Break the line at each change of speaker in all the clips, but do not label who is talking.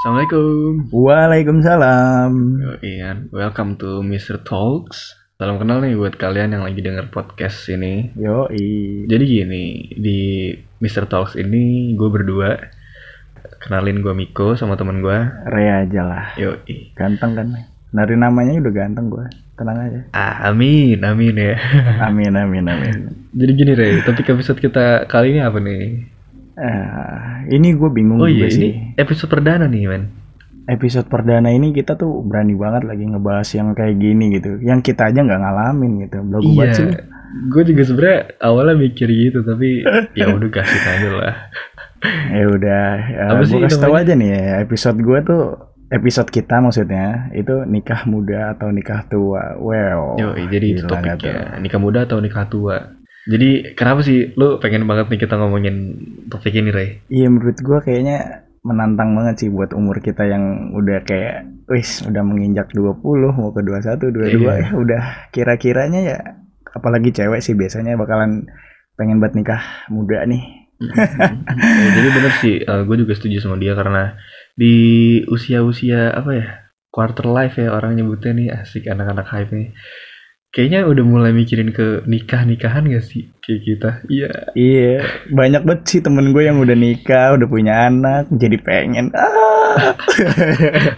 Assalamualaikum.
Waalaikumsalam.
Yo, Ian, welcome to Mr. Talks. Salam kenal nih buat kalian yang lagi denger podcast ini.
Yoi.
Jadi gini, di Mr. Talks ini gue berdua. Kenalin gue Miko sama temen gue.
Rea aja lah.
Yoi.
Ganteng kan? Dari namanya udah ganteng gue. Tenang aja.
Ah, amin, amin ya.
Amin, amin, amin.
Jadi gini Rey, topik episode kita kali ini apa nih?
Eh, ini gue bingung
Oh iya,
juga sih.
ini episode perdana nih men.
Episode perdana ini kita tuh berani banget lagi ngebahas yang kayak gini gitu. Yang kita aja nggak ngalamin gitu. Belum banget sih.
Iya, gue juga sebenernya awalnya mikir gitu, tapi ya udah kasih aja lah.
Ya udah. Ya,
Apa sih
gue kasih tau
namanya?
aja nih ya. Episode gue tuh episode kita maksudnya itu nikah muda atau nikah tua wow
Yoi, jadi itu
gila nggak tuh?
topiknya nikah muda atau nikah tua. Jadi kenapa sih lu pengen banget nih kita ngomongin topik ini, Rey?
Iya menurut gua kayaknya menantang banget sih buat umur kita yang udah kayak wis udah menginjak 20 mau ke 21, 22
Iya.
ya udah kira-kiranya ya apalagi cewek sih biasanya bakalan pengen buat nikah muda nih.
Eh, jadi bener sih, gue juga setuju sama dia karena di usia-usia apa ya quarter life ya orang nyebutnya nih asik anak-anak hype nih. Kayaknya udah mulai mikirin ke nikah-nikahan gak sih kayak kita? Iya.
Iya, banyak banget sih temen gue yang udah nikah, udah punya anak, jadi pengen. Ah.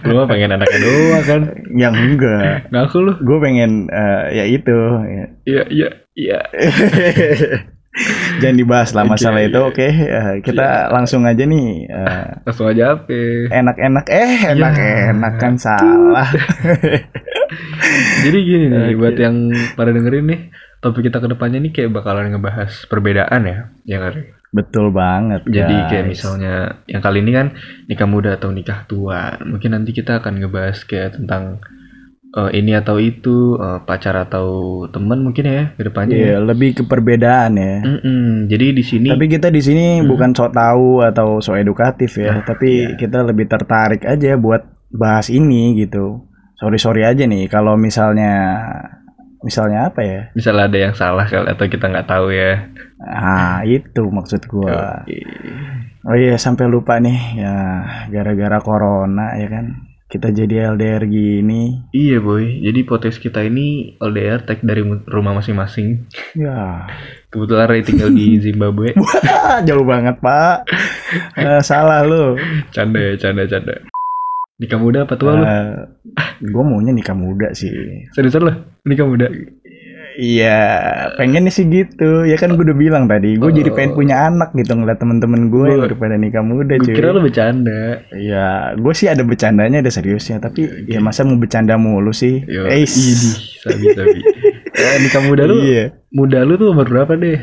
Lu mah pengen anaknya doang kan?
yang ya enggak.
Ngaku lu?
Gue pengen eh, ya itu.
Iya, iya, iya.
Jangan dibahas lah
Oke,
masalah itu.
iya.
Oke, eh, kita langsung aja nih eh,
Langsung aja apa?
enak-enak eh
Ya.
enak-enak kan salah
Jadi gini nih
Oke.
buat yang pada dengerin nih topik kita kedepannya nih kayak bakalan ngebahas perbedaan ya, ya kan? Ri?
betul banget
Jadi kayak
guys.
misalnya yang kali ini kan nikah muda atau nikah tua, mungkin nanti kita akan ngebahas kayak tentang eh, ini atau itu eh, pacar atau temen mungkin ya kedepannya.
Iya,
ya.
lebih ke perbedaan ya
Mm-mm. Jadi di sini
tapi kita di sini
Hmm.
bukan so tahu atau so edukatif ya
Nah, iya.
tapi kita lebih tertarik aja buat bahas ini gitu sorry sorry aja nih kalau misalnya misalnya apa ya
misalnya ada yang salah kali atau kita nggak tahu ya.
ah itu maksud gua
Oke.
oh iya sampai lupa nih ya gara-gara corona ya kan kita jadi LDR gini
Iya boy. Jadi podcast kita ini LDR tag dari rumah masing-masing.
ya
Kebetulan Ray tinggal di Zimbabwe.
Wah, Ah, jauh banget, Pak. Eh, salah lu.
canda ya canda canda nikah muda apa tua lu
Ah. gue Eh, maunya nikah muda sih.
serius lu nikah muda
Iya, pengennya sih gitu. Ya kan gue udah bilang tadi, gue jadi pengen punya anak gitu ngeliat temen-temen gue yang
Oh. Gua-
udah pada nikah muda,
gue
cuy.
kira lu bercanda
Iya, gue sih ada bercandanya, ada seriusnya. Tapi
Iya.
ya masa mau bercanda mulu sih?
yo
Eis.
ini sabi sabi Eh, nikah muda Iya, lu
Iya.
muda lu tuh umur berapa deh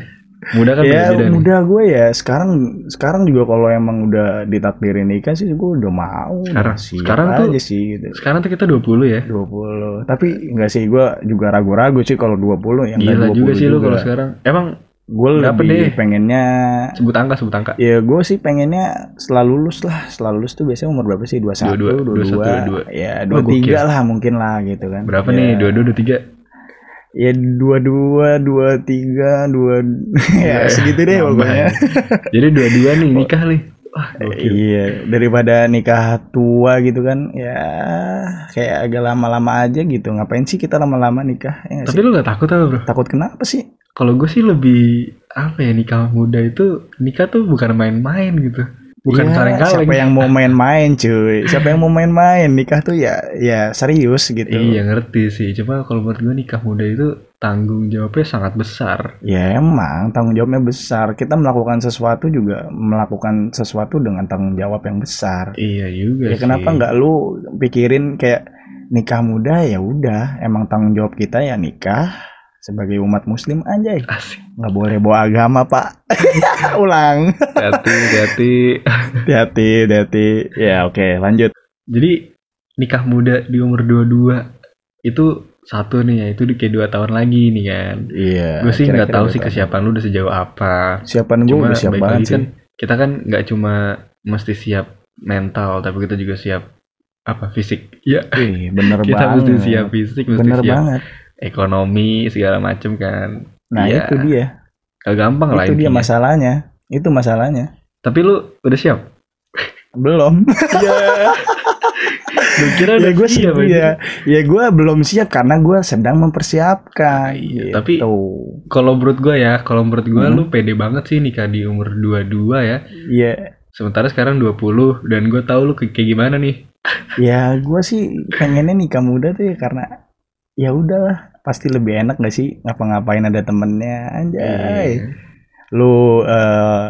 muda kan
ya
beda nih
muda gue ya sekarang sekarang juga kalau emang udah ditakdirin nikah sih gue udah mau
Sekarang-
Siap
sekarang tuh-
aja sih gitu.
sekarang tuh kita 20 ya
20. Tapi enggak sih gua juga ragu-ragu sih kalau 20 yang
gila
enggak 20
juga sih lu kalau sekarang emang
Gue
Berapa deh?
lebih pengennya
sebut angka sebut angka
ya gue sih pengennya setelah lulus lah. Setelah lulus tuh biasanya umur berapa sih? 21,
22,
22. Ya,
Wah, gokil.
23 lah mungkin lah gitu kan.
berapa
ya.
nih dua dua dua tiga
Ya 22, 23, 2 ya segitu deh
Iya, nambah
pokoknya.
ya. jadi dua dua nih nikah nih wah gokil
Iya, daripada nikah tua gitu kan, ya kayak agak lama-lama aja gitu. Ngapain sih kita lama-lama nikah? Ya nggak
tapi
sih?
lu gak takut apa bro
takut kenapa sih?
kalau gue sih lebih apa ya nikah muda itu nikah tuh bukan main-main gitu bukan gitu.
Iya,
kaleng-kaleng
Siapa yang mau main-main, cuy? Siapa yang mau main-main? Nikah tuh ya ya serius gitu.
Iya ngerti sih, cuma kalau menurut gue nikah muda itu tanggung jawabnya sangat besar.
Ya emang tanggung jawabnya besar. Kita melakukan sesuatu juga melakukan sesuatu dengan tanggung jawab yang besar.
Iya juga
Ya
sih.
kenapa nggak lu pikirin kayak nikah muda ya udah emang tanggung jawab kita ya nikah sebagai umat muslim aja
Asik.
nggak boleh bawa agama pak ulang
Hati, hati.
hati-hati hati ya oke lanjut
Jadi nikah muda di umur 22 itu satu nih ya, itu di kayak dua tahun lagi nih kan.
iya
Gue sih nggak
kira-kira
tahu
gitu.
sih kesiapan lu udah sejauh apa.
siapan gue
Cuma
udah siap
baik
banget
lagi
sih
kan kita kan nggak cuma mesti siap mental, tapi kita juga siap apa fisik. Ya,
Wih, bener
kita
banget.
mesti siap fisik, mesti
bener
siap
banget.
ekonomi segala macem kan.
Nah,
Iya.
itu dia.
Gak gampang lah
itu dia
intinya.
masalahnya. Itu masalahnya.
Tapi lu udah siap?
belum
Iya. Lu kira
ya
udah
gue
siap
siap
aja.
ya ya gue belum siap karena gue sedang mempersiapkan
Iya,
gitu.
tapi- Kalau menurut gue ya, kalau menurut gue
Hmm.
lu pede banget sih nikah di umur 22 ya.
ya
Sementara sekarang 20 dan gue tahu lu kayak kayak gimana nih.
ya gue sih pengennya nikah muda tuh ya karena ya udahlah pasti lebih enak gak sih ngapa-ngapain ada temennya anjay
Iya.
lu eh,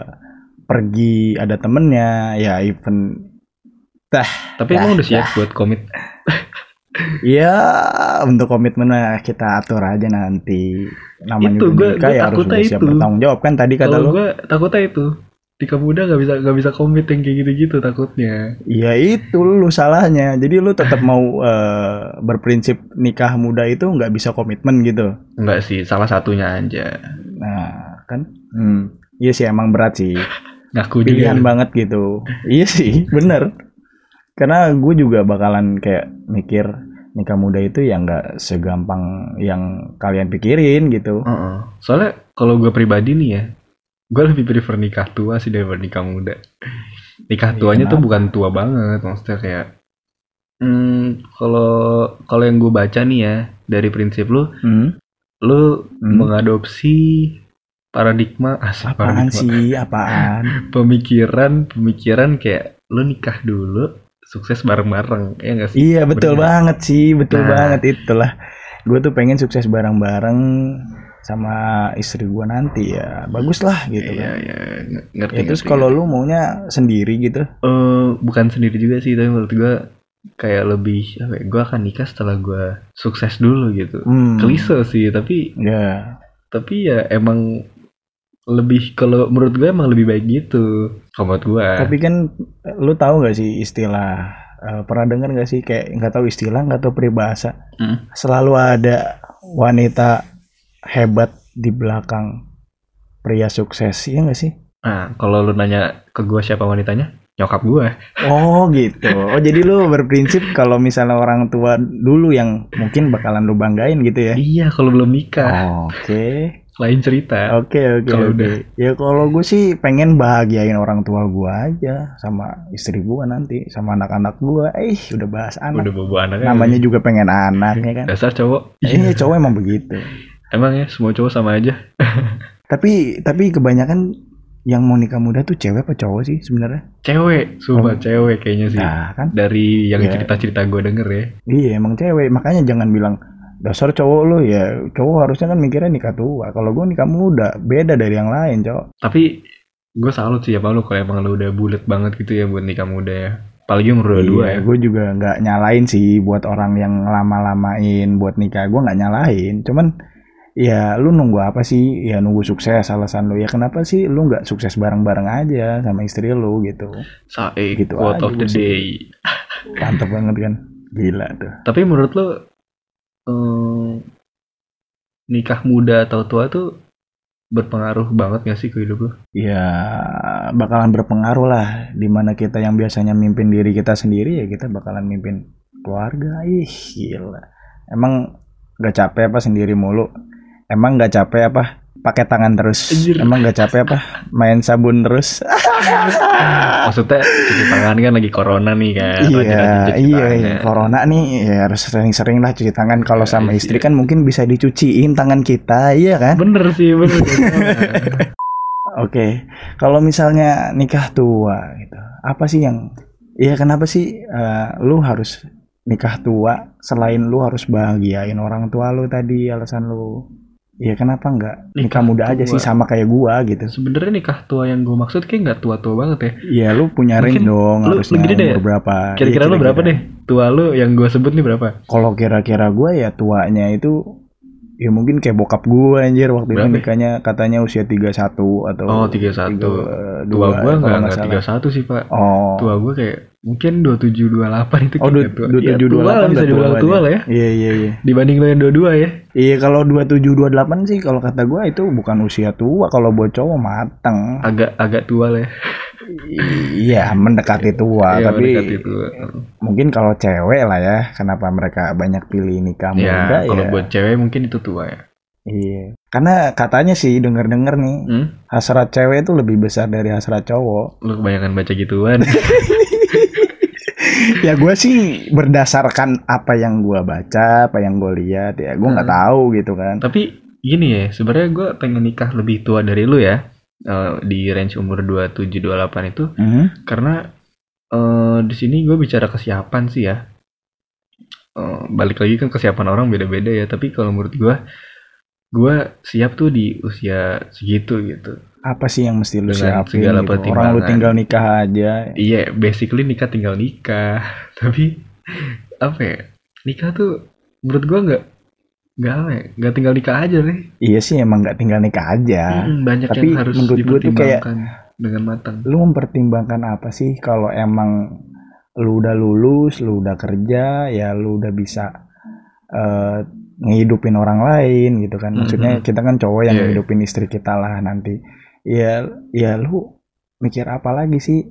pergi ada temennya ya even
Tapi emang udah siap buat komit.
ya untuk komitmennya kita atur aja nanti namanya
Itu,
udah
gua-
nikah
gua
ya harus
takutnya
udah siap
itu.
bertanggung jawab kan tadi kata
Kalau
lu
gue takutnya itu nikah muda nggak bisa nggak bisa komit yang kayak gitu-gitu takutnya.
ya itu lu salahnya jadi lu tetap mau eh, berprinsip nikah muda itu nggak bisa komitmen gitu
Enggak sih, salah satunya aja.
nah kan hmm. iya sih emang berat sih
Ngaku juga.
pilihan
lu.
banget gitu iya sih bener karena gue juga bakalan kayak mikir nikah muda itu ya nggak segampang yang kalian pikirin gitu
Heeh. Soalnya kalau gue pribadi nih ya, gue lebih prefer nikah tua sih daripada nikah muda. Nikah
Iya,
tuanya tuh
kenapa?
bukan tua banget, maksudnya kayak Hmm, kalau kalau yang gue baca nih ya dari prinsip lu,
hmm.
lu
Hmm.
mengadopsi paradigma asik paradigma
apaan sih apaan
pemikiran pemikiran kayak lu nikah dulu sukses bareng-bareng ya nggak sih?
iya betul
Bener.
banget sih betul
Nah.
banget itulah gue tuh pengen sukses bareng-bareng sama istri gue nanti ya bagus lah
Iya,
gitu kan
iya, ng- ngerti.
ya, terus
ngerti,
kalau lu maunya sendiri gitu
Eh, bukan sendiri juga sih tapi menurut gue kayak lebih apa ya, gue akan nikah setelah gue sukses dulu gitu
hmm.
klise sih tapi
ya
tapi ya emang lebih kalau menurut gue emang lebih baik gitu kalau menurut gue
Tapi kan lu tahu gak sih istilah eh, pernah dengar gak sih kayak nggak tahu istilah nggak tahu peribahasa
Hmm.
selalu ada wanita hebat di belakang pria sukses ya nggak sih
nah kalau lu nanya ke gue siapa wanitanya nyokap gue
oh gitu oh jadi lu berprinsip kalau misalnya orang tua dulu yang mungkin bakalan lu banggain gitu ya
iya kalau belum nikah
Oh. oke
lain cerita
oke oke
Kalau
oke
udah.
ya kalau gue sih pengen bahagiain orang tua gua aja sama istri gua nanti sama anak-anak gua eh udah bahas anak
udah bobo anaknya
namanya juga pengen anak ya kan
dasar cowok Iya,
ini cowok emang begitu
emang ya semua cowok sama aja
tapi tapi kebanyakan yang mau nikah muda tuh cewek apa cowok sih sebenarnya
cewek sumpah
Hmm.
cewek kayaknya sih
nah kan
dari yang
Iya.
cerita-cerita gue denger ya
iya emang cewek makanya jangan bilang dasar cowok lo ya cowok harusnya kan mikirnya nikah tua kalau gue nikah muda beda dari yang lain cowok
tapi gue salut sih sama lu kalau emang lu udah bulat banget gitu ya buat nikah muda ya apalagi umur dua ya
gue Iya, juga nggak nyalain sih buat orang yang lama-lamain buat nikah gue nggak nyalain cuman ya lu nunggu apa sih ya nunggu sukses alasan lu ya kenapa sih lu nggak sukses bareng-bareng aja sama istri lu gitu
sae
Gitu
quote
aja
of the
gua sih.
day
mantap banget kan gila tuh
tapi menurut lu eh, nikah muda atau tua tuh berpengaruh banget gak sih ke hidup lu
ya bakalan berpengaruh lah dimana kita yang biasanya mimpin diri kita sendiri ya kita bakalan mimpin keluarga ih gila emang gak capek apa sendiri mulu emang gak capek apa pakai tangan terus
Anjir.
emang gak capek apa main sabun terus
maksudnya cuci tangan kan lagi corona nih kan rajin-rajin
iya
cuci
iya
tangan. ya.
iya. corona nih ya harus sering-sering lah cuci tangan kalau sama
Iya,
istri
iya.
kan mungkin bisa dicuciin tangan kita iya kan
bener sih bener
Oke, kalau misalnya nikah tua gitu, apa sih yang, ya kenapa sih eh, lu harus nikah tua selain lu harus bahagiain orang tua lu tadi alasan lu, ya kenapa nggak nikah
Nikah
muda aja
tua.
sih sama kayak gua gitu?
sebenarnya nikah tua yang gue maksud kayak nggak tua-tua banget ya
Ya lu punya range
Mungkin
dong,
lu- lu
harusnya
gini deh,
umur berapa? Iya,
kira-kira lu berapa deh tua lu yang gue sebut nih berapa
Kalau kira-kira gua ya tuanya itu ya mungkin kayak bokap gua anjir waktu
Berapa ya?
itu nikahnya katanya usia 31 atau
Oh, 31. tua
32,
gue nggak
kalau nggak
nggak
salah.
tiga satu sih pak
Oh.
tua gue kayak mungkin 27 28 itu
Oh,
kayak Iya,
du- 27,
tua lah, bisa
28 udah
dibilang
tua
tua
dia.
lah ya
Iya iya iya.
dibanding lo yang 22 ya
Iya kalau 27 28 sih kalau kata gua itu bukan usia tua kalau buat cowok mateng.
agak agak tua lah ya
Iya mendekati tua
Iya,
tapi
mendekati tua.
mungkin kalau cewek lah ya kenapa mereka banyak pilih nikah
ya
muda ya.
kalau buat cewek mungkin itu tua ya
Iya. Karena katanya sih denger-denger nih,
Hmm?
hasrat cewek itu lebih besar dari hasrat cowok.
Lu kebanyakan baca gituan.
ya gue sih berdasarkan apa yang gua baca, apa yang gue lihat ya, gue nggak
Hmm.
tahu gitu kan.
Tapi gini ya, sebenarnya gue pengen nikah lebih tua dari lu ya. eh, di range umur 27-28 itu.
Hmm.
Karena eh, di sini gue bicara kesiapan sih ya. Eh, balik lagi kan kesiapan orang beda-beda ya. Tapi kalau menurut gue, gue siap tuh di usia segitu gitu.
Apa sih yang mesti lu
Dengan
siapin?
segala
gitu? Orang lu
pertimbangan.
tinggal nikah aja.
Iya, basically nikah tinggal nikah. Tapi apa ya? Nikah tuh menurut gue nggak nggak apa ya, nggak tinggal nikah aja nih.
Iya sih emang nggak tinggal nikah aja.
Mm-mm, banyak
Nah, tapi
yang harus
menurut gua tuh kayak-
dipertimbangkan dengan matang.
lu mempertimbangkan apa sih kalau emang lu udah lulus, lu udah kerja, ya lu udah bisa eh, ngehidupin orang lain gitu kan.
Mhm.
Maksudnya kita kan cowok
Iya,
yang
iya.
ngehidupin istri kita lah nanti. Ya ya lu mikir apa lagi sih?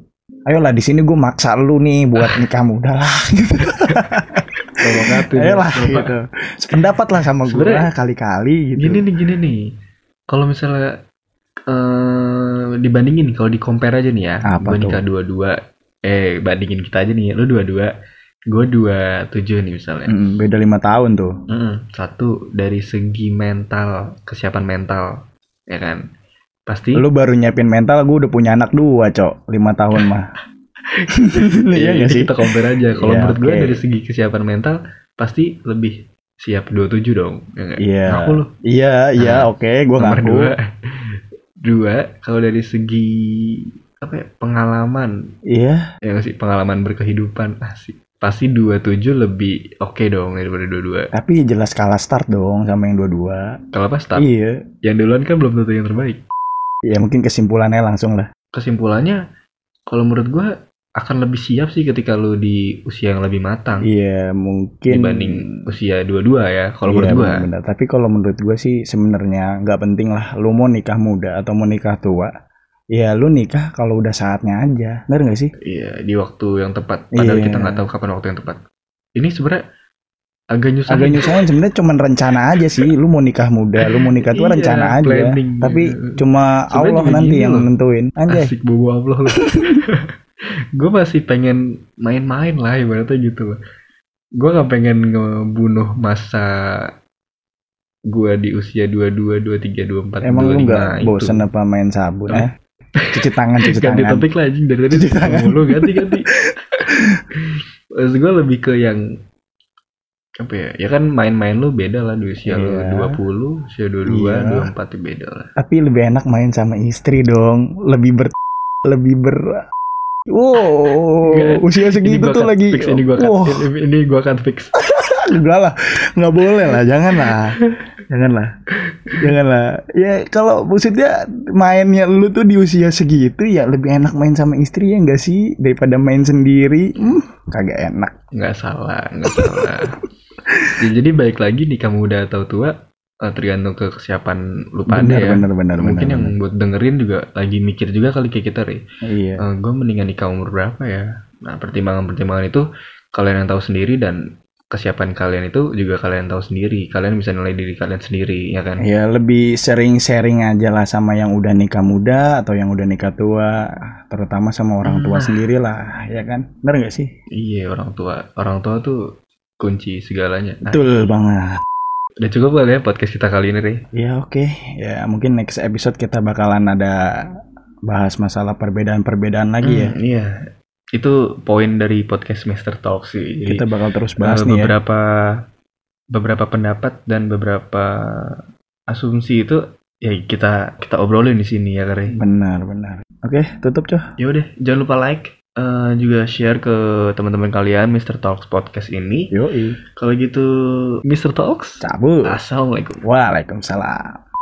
Ayolah di sini gue maksa lu nih buat nikah muda lah.
Provokatif.
Ayolah
Provoka-
gitu. Sependapat lah sama gue
Sebenarnya-
lah kali-kali gitu.
Gini nih, gini nih. Kalau misalnya eh dibandingin kalau di compare aja nih ya,
Apa
gue
tuh?
nikah dua-dua, eh bandingin kita aja nih, lu dua-dua, gue dua tujuh nih misalnya.
Mm, beda lima tahun tuh.
Mm-mm. Satu dari segi mental, kesiapan mental, ya kan. Pasti
Lu baru nyiapin mental, gue udah punya anak dua, cok. Lima tahun mah.
Iya,
nggak
ini kita compare aja. Kalau
Iya,
menurut gue
oke.
dari segi kesiapan mental pasti lebih siap 27 dong. Ya nggak?
Iya.
Ngaku lu.
Iya, iya,
Nah,
oke, gua
Nomor
ngaku.
dua. Dua, kalau dari segi apa ya, pengalaman
Iya,
ya nggak sih pengalaman berkehidupan asik pasti 27 lebih oke dong daripada dua-dua
tapi jelas kalah start dong sama yang dua-dua.
kalau pas start
Iya.
yang duluan kan belum tentu yang terbaik
Ya mungkin kesimpulannya langsung lah.
kesimpulannya kalau menurut gue akan lebih siap sih ketika lu di usia yang lebih matang
Iya, mungkin
dibanding usia dua-dua ya kalau
Iya,
menurut gue
benar-benar. Tapi kalau menurut gua sih sebenarnya nggak penting lah lu mau nikah muda atau mau nikah tua. Ya lu nikah kalau udah saatnya aja. Benar nggak sih?
Iya, di waktu yang tepat. Padahal
Iya.
kita nggak tahu kapan waktu yang tepat. Ini sebenarnya agak nyusahin.
Agak nyusahin sebenarnya cuman rencana aja sih. Lu mau nikah muda, lu mau nikah
Iya,
tua kan rencana aja. ya.
planning.
Tapi
Sebenarnya
cuma Allah
juga
nanti
gini
yang
loh.
nentuin. Anjay.
Asik bobo Allah lu. gue masih pengen main-main lah ibaratnya gitu loh. Gue nggak pengen ngebunuh masa gue di usia 22, 23, 24,
Emang lu
25
nggak
itu.
bosen apa main sabun
Apa?
ya? Cuci tangan, cuci
ganti
tangan.
topik lah anjing dari tadi
Cuci tangan.
mulu ganti ganti maksud gue lebih ke yang apa ya ya kan main-main lu beda lah di usia lu
Iya.
20 usia 22
Iya.
24 tuh ya beda lah
Tapi lebih enak main sama istri dong. Lebih ber lebih ber Wow, Oh, usia segitu
gua
tuh
cut
lagi.
fix, ini gua cut,
Wah,
ini, ini gua cut fix
enggak lah. Enggak boleh lah, janganlah. janganlah. Janganlah. Ya kalau maksudnya mainnya lu tuh di usia segitu ya lebih enak main sama istri ya enggak sih daripada main sendiri. Hmm, kagak enak.
nggak salah nggak salah Ya, jadi baik lagi nih kamu udah atau tua eh, tergantung ke kesiapan lu pada
Benar,
ya
benar, benar,
mungkin
benar,
yang buat dengerin juga lagi mikir juga kali kayak kita Re.
benar. Iya.
gue mendingan nikah umur berapa ya? Nah, pertimbangan-pertimbangan itu kalian yang tahu sendiri dan kesiapan kalian itu juga kalian tahu sendiri. Kalian bisa nilai diri kalian sendiri, ya kan?
Ya lebih sering-sering aja lah sama yang udah nikah muda atau yang udah nikah tua, terutama sama orang tua
Hmm.
sendiri lah, ya kan? Bener gak sih?
Iya, orang tua. Orang tua tuh kunci segalanya. Nah,
Betul banget.
udah cukup kali ya podcast kita kali ini, Rey.
Ya oke, ya mungkin next episode kita bakalan ada bahas masalah perbedaan-perbedaan lagi ya.
Hmm, Iya. Itu poin dari podcast Mister Talk sih. Jadi,
Kita bakal terus
eh,
bahas nih ya.
beberapa beberapa pendapat dan beberapa asumsi itu ya kita kita obrolin di sini ya, Rey.
Benar, benar. Oke, tutup coh.
Yaudah, jangan lupa like, eh, juga share ke teman-teman kalian Mr. Talks Podcast ini.
Yoi.
Kalau gitu, Mr. Talks,
Cabut.
Ah. Assalamualaikum.
Waalaikumsalam.